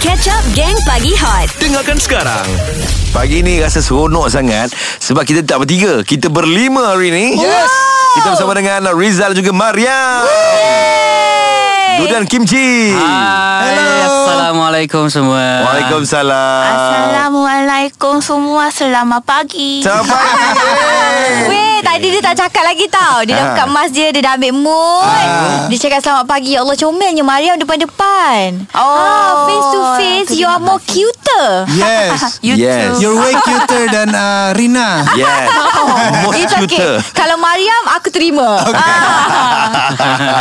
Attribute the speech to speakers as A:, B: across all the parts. A: Catch Up Gang Pagi Hot
B: Dengarkan sekarang Pagi ni rasa seronok sangat Sebab kita tak bertiga Kita berlima hari ni Yes Kita bersama dengan Rizal juga Mariam Dudan Kimchi
C: Hai, Assalamualaikum semua.
B: Waalaikumsalam
D: Assalamualaikum semua Selamat pagi
B: Sampai
A: Weh tadi dia tak cakap lagi tau Dia dah
B: Ah.
A: buka emas dia Dia dah ambil mood Dia cakap selamat pagi Ya Allah comelnya Mariam depan-depan
D: Oh.
A: ah, Face to face You are more cuter
E: Yes.
B: You Yes. too.
E: You're way cuter than uh, Rina.
B: Yes Most
A: It's Oh, okay
B: cuter
A: Kalau Mariam aku terima ah.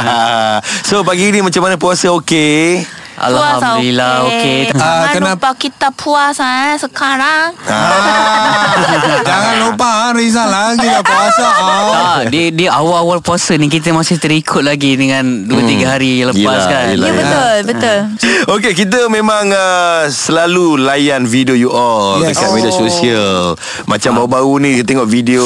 B: So pagi ni macam mana puasa okey
C: Alhamdulillah, okey. Okay.
D: okey. Jangan
E: Ah, kena-
D: lupa kita puasa eh, sekarang
E: Ah, jangan lupa ah, Rizal lagi tak puasa. Ah.
C: Tak, di, di awal-awal puasa ni kita masih terikut lagi dengan 2-3 hari lepas
B: Hmm. Yelah,
C: kan.
B: yelah,
A: Ya
B: yelah.
A: betul Betul
B: Okey, kita memang uh, selalu layan video you all yes.
E: Yes.
B: dekat oh.
E: Oh. Ah.
B: media sosial. Macam baru-baru ni kita tengok video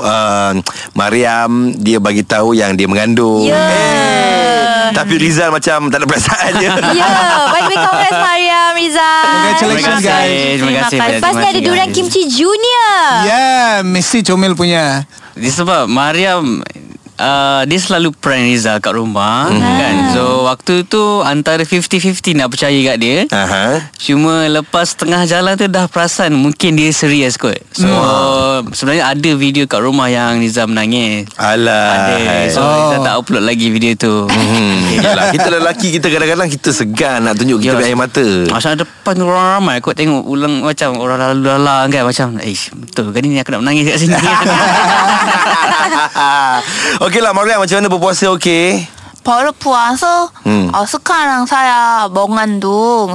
B: uh, Mariam dia bagi tahu yang dia mengandung.
A: Ya.
B: Eh, Tapi Rizal macam tak ada perasaan je.
A: Ya Baik-baik congrats Mariam Rizal
E: Congratulations
C: Terima kasih,
E: guys.
C: terima kasih.
D: Terima kasih.
A: Lepas ni ada Duran Kimchi
E: Ya.
A: Junior
E: Yeah, Messi comel punya.
C: Dia sebab Mariam Uh, dia selalu prank Rizal kat rumah
B: Hmm.
C: kan So waktu tu Antara 50-50 nak percaya kat dia
B: Aha.
C: Cuma lepas tengah jalan tu Dah perasan Mungkin dia serius kot So
B: Hmm.
C: sebenarnya ada video kat rumah Yang Rizal menangis
B: Alah.
C: Ada So oh. kita tak upload lagi video tu
B: Hmm, yalah, kita lelaki kita kadang-kadang kita segan nak tunjuk kita
C: Ya.
B: punya air mata.
C: Masa depan tu orang ramai Aku tengok ulang macam Orang lalu lalang kan Macam Eish betul ke ni Aku nak menangis kat sini
B: Okeylah Mariam macam mana berpuasa okey? Hmm.
D: 바로 부어서
B: 음.
D: 어, 스카랑 사야 멍한둥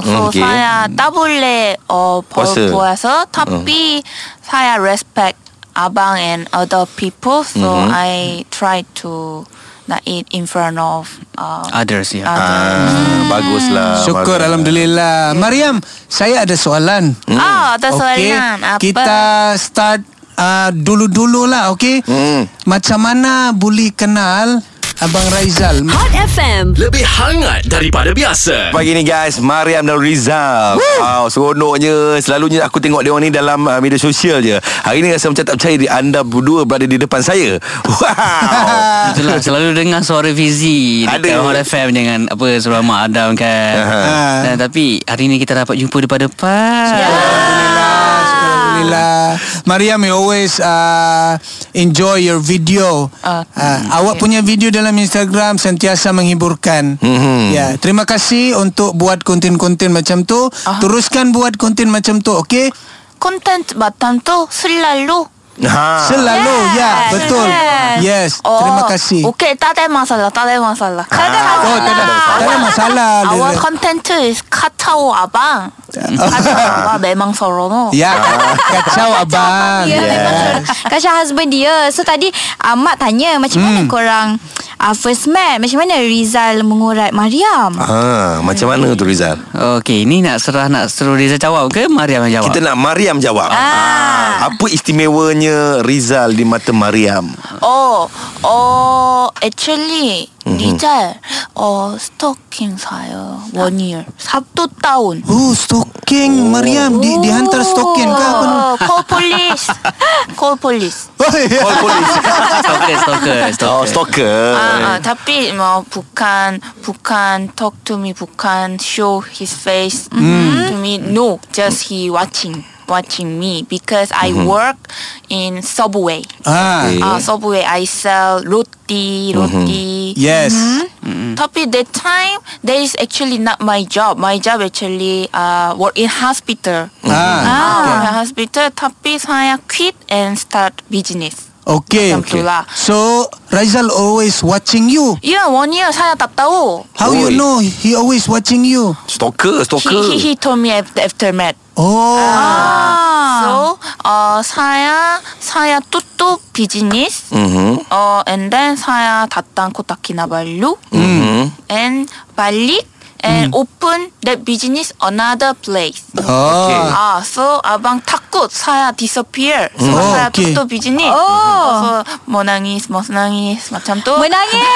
B: 음,
D: 소
B: 오케이.
D: 사야 따블레 어 바로
B: 벌써.
D: 부어서 탑비 사야 respect abang and other people so I try to not eat in front of uh,
C: Others ya
D: others.
B: Ah, baguslah.
E: Syukur
B: Mariam.
E: Alhamdulillah. Mariam, saya ada soalan.
D: 아, 어떤
E: Okey,
D: 소리는 아빠
E: Kita start uh, dulu-dulu lah, okay?
B: Hmm.
E: Macam mana boleh kenal Abang Raizal?
A: Hot FM
F: Lebih hangat daripada biasa.
B: Pagi ni guys Mariam dan Rizal wow, Seronoknya Selalunya aku tengok dia orang ni Dalam uh, media sosial je Hari ni rasa macam tak percaya di- Anda berdua berada di depan saya Wow
C: Itulah selalu dengar suara Fizi
B: Ada.
C: Dekat Hot FM Dengan apa Surah Mak Adam kan Dan, Tapi hari ni kita dapat jumpa
B: Ya.
C: depan-depan
E: Alhamdulillah, syukur Alhamdulillah. Mariam, you always uh, enjoy your video. Uh, awak punya video dalam Instagram sentiasa menghiburkan.
B: Mhm.
E: Ya, terima kasih untuk buat konten-konten macam tu. Teruskan buat konten macam tu, okey?
D: 콘텐츠 마탐도 슬랄로
B: ha.
E: Selalu, ya,
D: Yes. Oh.
E: betul. Yes, terima kasih.
D: 오케이 따대 마살라 따대 마살라
B: 따대
E: Oh, tak ada, tak ada masalah.
D: Our content is 카차오 아방 카차오 아방 매망서로노
E: Ya, kacau abang.
A: Ya yeah. Kak Syah husband dia So tadi uh, Mak tanya Macam mana
B: Hmm.
A: korang uh, First met Macam mana Rizal mengurat Mariam
B: ha. Macam mana tu Rizal
C: Okey ni nak serah Nak suruh Rizal jawab ke Mariam yang jawab
B: Kita nak Mariam jawab ah. Apa istimewanya Rizal di mata Mariam
D: 어, 어, actually, 니잘, 어, 스토킹 사요. 원이얼. 삽도 다운.
E: Oh, Oh. stalking Mariam di dihantar stalking ke apa? Oh,
D: 어,
E: ni?
D: 콜폴리스. 콜폴리스.
B: Call polis
C: Stalker Stalker
B: Oh
C: Eh, Stalker
B: stalker
D: 아, 아, 답이 뭐 북한, 북한, talk to me, 북한, show his face to me. No, just he watching, watching me because I work in subway.
E: Ah,
D: 아, subway I sell roti, roti.
E: yes.
D: 음. Tapi that time that is actually not my job. My job actually uh work in hospital.
E: Ah,
D: Ah, in hospital. Tapi saya quit and start business.
E: okay.
D: Macam tu lah.
E: So Raizal always watching you.
D: Yeah, one year saya tak tahu.
E: How
B: Oi.
E: you know he always watching you?
B: Stalker
D: He,
B: Stalker
D: he, he told me after, after met.
E: Oh,
D: So, uh, saya saya tutup business.
B: Mhm.
D: Uh, and then saya datang Kota Kinabalu
B: Mhm.
D: and balik and open that business another place.
E: oh,
D: 아, so abang takut saya disappear. So
E: Oh,
D: saya
E: okay.
D: tutup bisnis.
A: Oh.
D: So menangis, menangis macam tu.
A: Menangis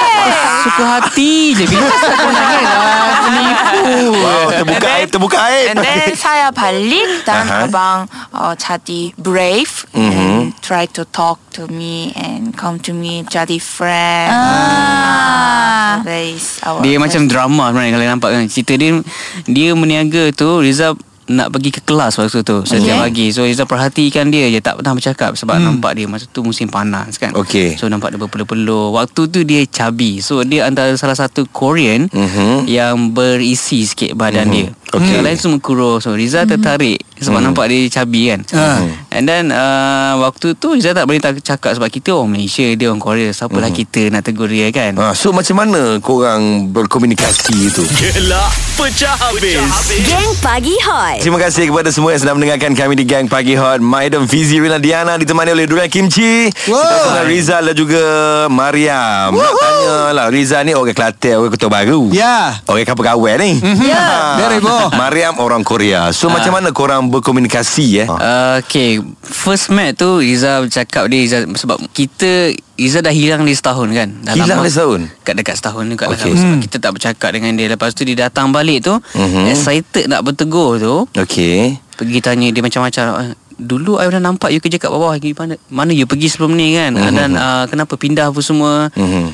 C: Suka hati je Bila suka menangis kan? ah, Penipu
B: Wow, terbuka
D: And then-
B: aib, terbuka aib.
D: And then saya balik dan
B: Aha.
D: abang uh, jadi brave and try to talk to me and come to me jadi friend.
A: 아.
D: Ah. so that is our
C: Oh, Dia macam drama sebenarnya Kalau nampak kan Cerita dia Dia meniaga tu Rizal nak pergi ke kelas waktu tu Setiap
A: Okay.
C: pagi So Rizal perhatikan dia je Tak pernah bercakap Sebab hmm. nampak dia Masa tu musim panas kan
B: Okay.
C: So nampak dia berpeluh-peluh Waktu tu dia chubby So dia antara salah satu Korean
B: Mhm.
C: Yang berisi sikit badan
B: Mhm.
C: dia
B: Okay.
C: Yang lain semua kurus So Rizal tertarik Sebab nampak dia chubby kan
E: Ah.
C: And then uh, Waktu tu Rizal tak boleh tak cakap Sebab kita orang Malaysia Dia orang Korea Siapalah kita nak tegur dia kan
B: Ha, so macam mana korang berkomunikasi itu?
F: Gelak pecah habis.
G: Geng Pagi Hot.
B: Terima kasih kepada semua yang sedang mendengarkan kami di Gang Pagi Hot. Maidam Fizi Rina Diana ditemani oleh Durian Kimchi.
E: Wow.
B: Kita dengan Rizal dan juga Mariam. Nak tanya lah Rizal ni orang Kelantan, orang Kota Baru.
E: Ya.
B: Orang kapal kawan ni. Ya.
E: Very boh.
B: Mariam orang Korea. So macam mana korang berkomunikasi eh?
C: Uh, okay First met tu Iza cakap dia Iza, Sebab kita Iza dah hilang dia setahun kan dah
B: Hilang dia setahun?
C: Dekat, dekat setahun dekat
B: Okay. Hmm.
C: okay. lah, Sebab kita tak bercakap dengan dia Lepas tu dia datang balik tu
B: Mhm.
C: Excited nak bertegur tu
B: Okay.
C: Pergi tanya dia macam-macam "Ah, Dulu I dah nampak you kerja kat bawah you mana, mana you pergi sebelum ni kan
B: Mhm.
C: mm-hmm. Dan uh, kenapa pindah apa semua
B: Mhm.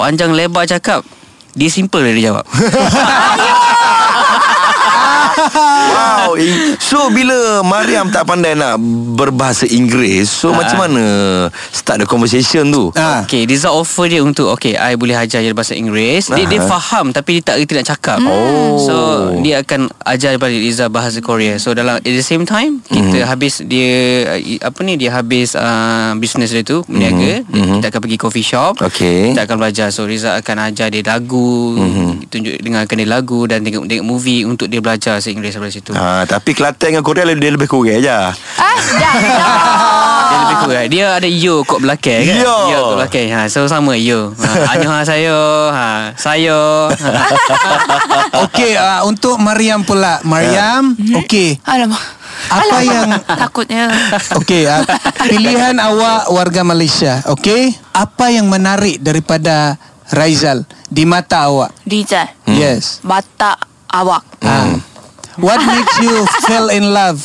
C: Panjang lebar cakap Dia simple dia jawab
B: Wow. In- So bila Mariam tak pandai nak berbahasa Inggeris, so
C: Ah.
B: macam mana start the conversation tu?
E: Ah.
C: Okay Rizal offer dia untuk Okay I boleh ajar dia bahasa Inggeris Dia, dia
B: Aha.
C: faham Tapi dia tak reti nak cakap
B: Oh.
C: So dia akan ajar balik Rizal bahasa Korea So dalam At the same time
B: Mhm.
C: Kita habis dia uh, i- Apa ni Dia habis uh, Business dia tu Meniaga
B: Mhm.
C: Kita akan pergi coffee shop
B: Okay.
C: Kita akan belajar So Rizal akan ajar dia lagu
B: Mhm.
C: Tunjuk dengarkan dia lagu Dan tengok, tengok movie Untuk dia belajar bahasa Inggeris daripada situ
B: Ha, tapi Kelantan dengan Korea dia lebih kurang je.
A: Ah, dah.
C: Dia lebih kurang Dia ada yo kat belakang kan
B: Ah. Yo.
C: Yo kat belakang ha, So sama yo ha, Anyoha saya ha, Saya ha.
E: Okey, ah, untuk Mariam pula. Mariam, okey.
D: Alamak.
E: Apa yang
D: Takutnya
E: Okey, ah, pilihan awak warga Malaysia. Okey, apa yang menarik daripada Raizal di mata awak?
D: Rizal
E: Yes.
D: mata awak.
E: Ah. What makes you fell in love?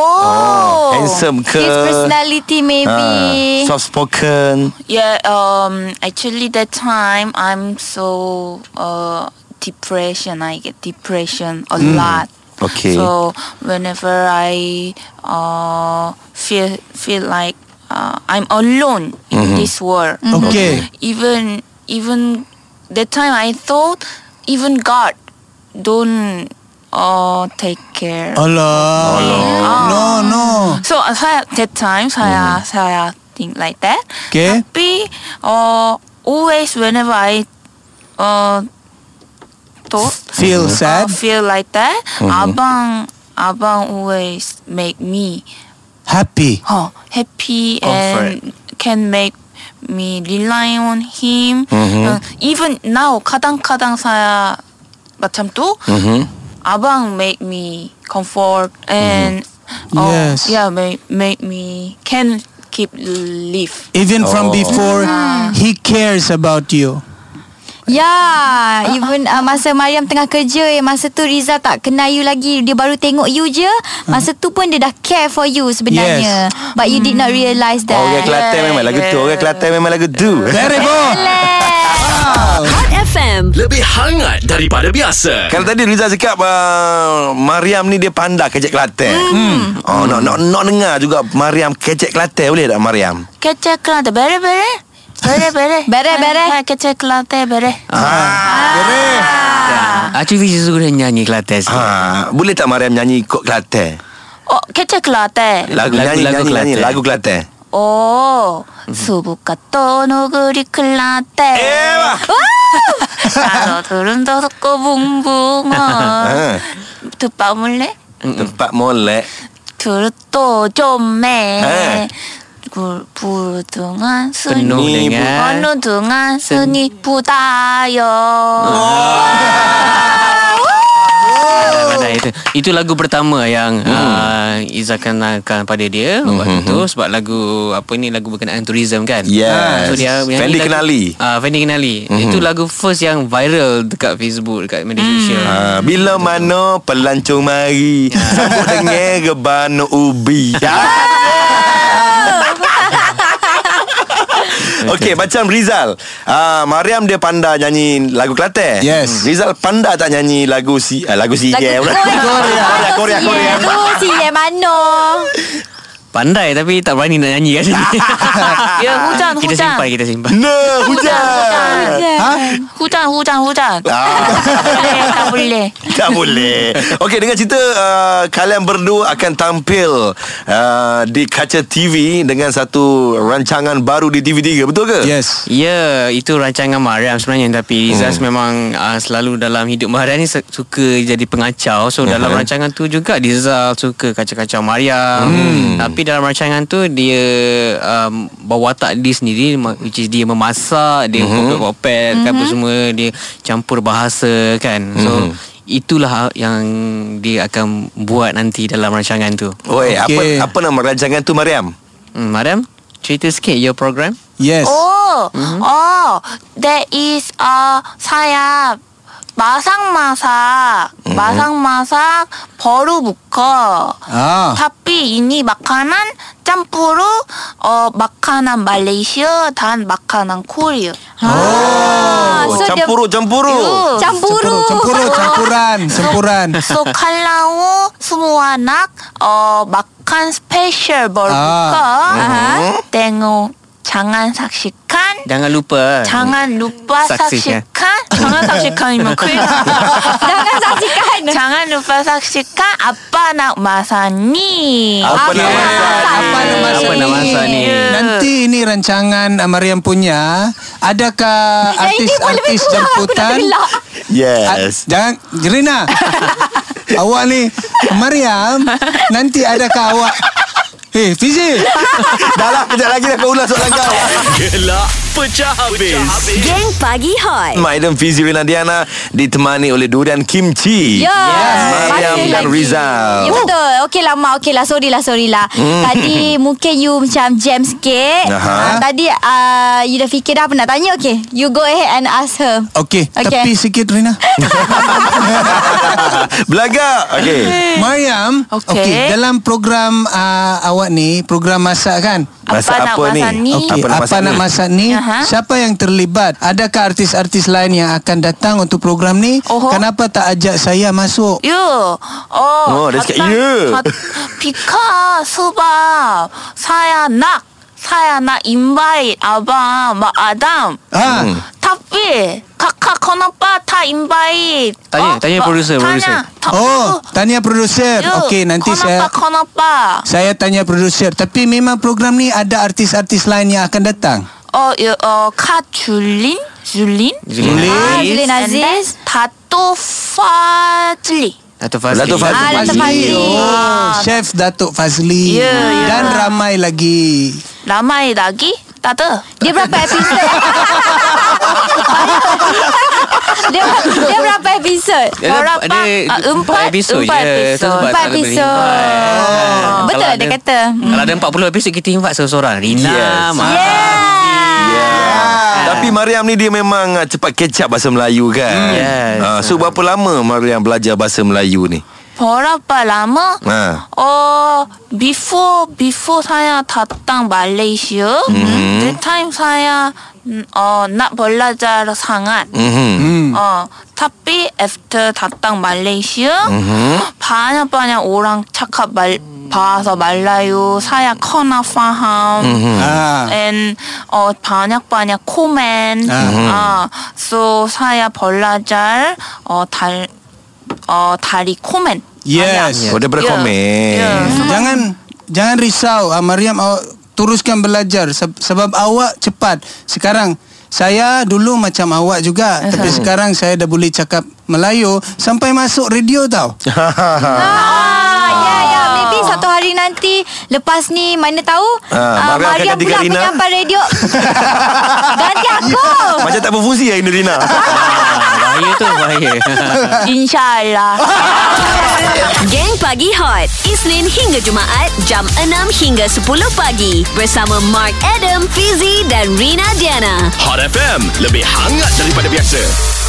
D: Oh.
B: Handsome ke?
A: His personality maybe.
B: Ah, soft spoken.
D: Yeah, um actually that time I'm so uh depression. I get depression a lot.
B: Okay.
D: So whenever I uh feel feel like uh, I'm alone in this world.
E: Okey.
D: Even even that time I thought even God don't uh take care.
E: Allah. No, no.
D: So uh, saya that time saya saya think like that.
E: Hmm. Okay.
D: Tapi uh, always whenever I uh, thought
E: Feel
D: uh,
E: sad. Mm-hmm.
D: feel like that, abang abang always make me
E: Happy.
D: huh, happy and can make me rely on him.
E: Mm-hmm.
D: Uh, even now kadang-kadang saya macam tu
B: Mm-hmm.
D: abang make me comfort and oh,
E: Yes.
D: yeah make, make me can keep live
E: Even
B: Oh.
E: from before, he cares about you.
A: Ya, yeah, even uh, masa Mariam tengah kerja eh, masa tu Rizal tak kenal you lagi. Dia baru tengok you je. Masa tu pun dia dah care for you sebenarnya.
E: Yes.
A: But you did not
B: Hmm.
A: realise that.
B: Orang Kelantan
D: Yeah,
B: memang lagu tu.
D: yeah.
B: Orang Kelantan memang lagu tu.
E: Terrible.
A: Relax.
G: Hot FM.
F: Lebih hangat daripada biasa.
B: Kalau tadi Rizal cakap uh, Mariam ni dia pandai kecek Kelantan. Hmm. Oh, nak nak nak dengar juga Mariam kecek Kelantan boleh tak Mariam?
D: kecil kelate bere bere bere bere
A: Bere, bere.
D: Ha, kecil kelate 아, bere
C: Acu Fizi suruh dia nyanyi Kelantan sikit.
B: Ha, boleh tak Mariam nyanyi kok Kelantan?
D: oh kecil kelate
B: Lagu, lagu
C: Lagu-
B: nyanyi
C: lagu
B: nyanyi, nyanyi
C: Kelantan.
B: lagu Kelantan.
D: oh 수북과 또 노그리 클라테
B: Ewah.
D: 나도 들은 더럽고 붕붕어 듣바물래
B: Tempat molek.
D: 들또 좀매
B: 에.
D: 굴 부르등한 순이
C: Penuh
B: Ni
C: dengan
D: 어느 등한 순이 부다요
C: Pandai tu itu lagu pertama yang
B: Hmm.
C: uh, Iza kenalkan pada dia waktu tu sebab lagu apa ni lagu berkenaan tourism kan.
B: Yes.
C: So dia menyanyi
B: Fendi
C: lagu-
B: Kenali. Hmm,
C: Ah Fendi Kenali. Itu lagu first yang viral dekat Facebook dekat media sosial.
B: Ah, bila mana pelancong mari Sambut dengan rebana ubi Ya. Okey macam Rizal ah, Mariam dia pandai nyanyi lagu Kelantan Hmm.
E: Yes.
B: Rizal pandai tak nyanyi lagu si ah, Lagu si
A: Lagu
B: Korea Korea Korea
A: Tu si Ye Mano
C: Pandai tapi tak berani nak nyanyi kat sini.
D: Ya, hujan,
C: kita
D: hujan.
C: simpan, kita simpan.
B: No hujan
E: Ha?
D: Hujan, hujan, hujan.
B: ah.
D: tak boleh.
B: Tak boleh Okey dengan cerita uh, Kalian berdua akan tampil uh, Di kaca TV Dengan satu rancangan baru di TV3 Betul ke?
E: Yes.
C: Ya, itu rancangan Mariam sebenarnya tapi Rizaz memang uh, selalu dalam hidup Mariam ni se- suka jadi pengacau. So dalam rancangan tu juga Rizal suka kacau-kacau Mariam. Tapi dalam rancangan tu dia um, bawa watak dia sendiri ma- which is dia memasak, dia popet-popet kan apa semua, dia campur bahasa kan. So itulah yang dia akan buat nanti dalam rancangan tu.
B: Oi,
E: Okey.
B: apa apa nama rancangan tu Mariam?
C: Hmm, Mariam, cerita sikit your program.
E: Yes.
D: Oh, oh, there is a sayap. 마삭마삭, 마삭마삭, 버루 묶어.
E: Ah.
D: 파피 이니 마카난 짬뿌루 어 마카난 말레이시아 단 마카난 코리아
A: ha,
B: Oh,
A: so dia-
B: campuru campuru.
A: Campuru
E: Campuru, campuran, campuran.
D: 소 칼라우 스무아낙 어 마칸 스페셜
B: 아, 네.
A: 아하.
D: 벌부커 땡오 장안 삭식한
B: 네.
C: Jangan lupa. eh.
D: 장안 루빠
C: 삭식해.
D: 삭식한 장안 삭식한이면 큰일 나
A: Jangan saksikan
B: 네.
D: 장안 루빠 삭식한 아빠나 마사니
B: Apa nama rancangan?
E: Ya. Apa nama
C: Apa nama
E: saya
C: saya
E: ni?
C: ni?
E: Nanti ini rancangan ah, Mariam punya. Adakah
A: Saya ni pun lebih kurang Aku
E: artis-artis
A: nak
E: jemputan?
A: gelak
E: A-
B: Yes.
E: Jangan Jerina. awak ni Mariam, nanti adakah awak Eh, Fizi.
B: Dah lah kejap lagi dah kau ulas soalan kau.
F: Gelak pecah habis.
G: Geng Pagi Hot.
B: Maidam Fizi Renadiana ditemani oleh durian kimchi.
A: Ya
B: Mariam
A: Masih
B: dan
A: lagi.
B: Rizal.
A: Ya betul Okey lah Mak Okey lah sorry lah sorry lah Tadi mungkin you macam jam sikit Ah,
B: Aha.
A: Tadi ah, you dah fikir dah apa nak tanya Okey You go ahead and ask her
E: Okey,
A: Okey.
E: tepi sikit Rina.
B: Belagak. Okey.
E: Mariam,
D: Okey.
E: dalam program uh, awak ni, program masak kan?
B: Masa
D: 아빠나
B: apa ni?
D: 마사니
B: Okey.
E: Okey,
B: Apa nak
E: apa,
B: masak ni?
E: nak masak ni?
D: Aha.
E: Siapa yang terlibat? Adakah artis-artis lain yang akan datang untuk program ni?
D: Oho.
E: Kenapa tak ajak saya masuk?
D: 유, 어,
B: 어, 렛츠 겟 유.
D: 가- 비카, 수밥, 사야, 낙, 사야, 낙, 인바이, 뭐, 아바, 마, 아담,
E: Ah,
B: Hmm.
D: 탑비, 카카, 커너빠, 타, 인바이. 어?
C: 다니엘, 다니엘 producer, producer.
E: Oh, tanya produser. Okey, nanti saya
D: 커너빠, 커너빠.
E: saya tanya produser. Tapi memang program ni ada artis-artis lain yang akan datang.
D: 어, 유, 어, 카, 줄린, 줄린.
C: Zulin
A: Ah,
C: Aziz
A: Zulin Aziz
D: 다또, 파즐리.
C: Dato' Fazli
B: Dato' Fazli.
A: Ah, Dato' Fazli.
E: Oh, Chef Datuk Fazli
D: Ya, ya.
E: dan ramai lagi.
D: 라마의 낙이, 따드.
A: Dia berapa episod dia, dia berapa episod
C: Dia ada-
D: Berapa?
C: ada
D: Ah, empat-
C: episod
D: empat
C: je.
D: episod.
C: Sebab
A: Empat
C: tak boleh
A: episod.
C: invite.
A: Betul
C: Kalau
A: dia
C: ada-
A: kata.
C: Kalau ada 40 episod Kita invite seorang-seorang Rina
B: Yes.
C: Mak
B: Yeah. Tapi Mariam ni dia memang ah, cepat kecap bahasa Melayu kan.
C: Yes.
B: Ah, so berapa lama Mariam belajar bahasa Melayu ni? Ah.
D: 버라빠 라마
B: 아.
D: 어 비포 비포 사야 다땅 말레이시아 네타임 사야 음, 어나 벌라자르 상한
B: Mhm.
D: 어 탑비 애프터 다땅 말레이시아 바냐 바냐 오랑 차카 말 봐서 말라유 사야 커나
B: Hmm.
D: 파함
E: Ah.
D: 엔 어 반약 반약 코맨 아소 사야 벌라잘 어달어 다리 코맨
E: Yes.
B: Oh daripada
D: Ya.
B: komen.
D: Ya.
E: Jangan jangan risau ah, Mariam awak teruskan belajar Seb- sebab awak cepat. Sekarang saya dulu macam awak juga tapi sekarang saya dah boleh cakap Melayu sampai masuk radio tau.
A: Ah, ya ya maybe satu hari nanti lepas ni mana tahu ah,
B: Ah, Mariam akan
A: Mariam
B: ganti
A: pula
B: Karina.
A: penyampai radio. ganti aku.
B: Ya, Macam tak berfungsi ya Indurina.
C: Bahaya Bahaya tu bahaya
D: InsyaAllah
G: Geng Pagi Hot Isnin hingga Jumaat Jam 6 hingga 10 pagi Bersama Mark Adam Fizi dan Rina Diana
F: Hot FM Lebih hangat daripada biasa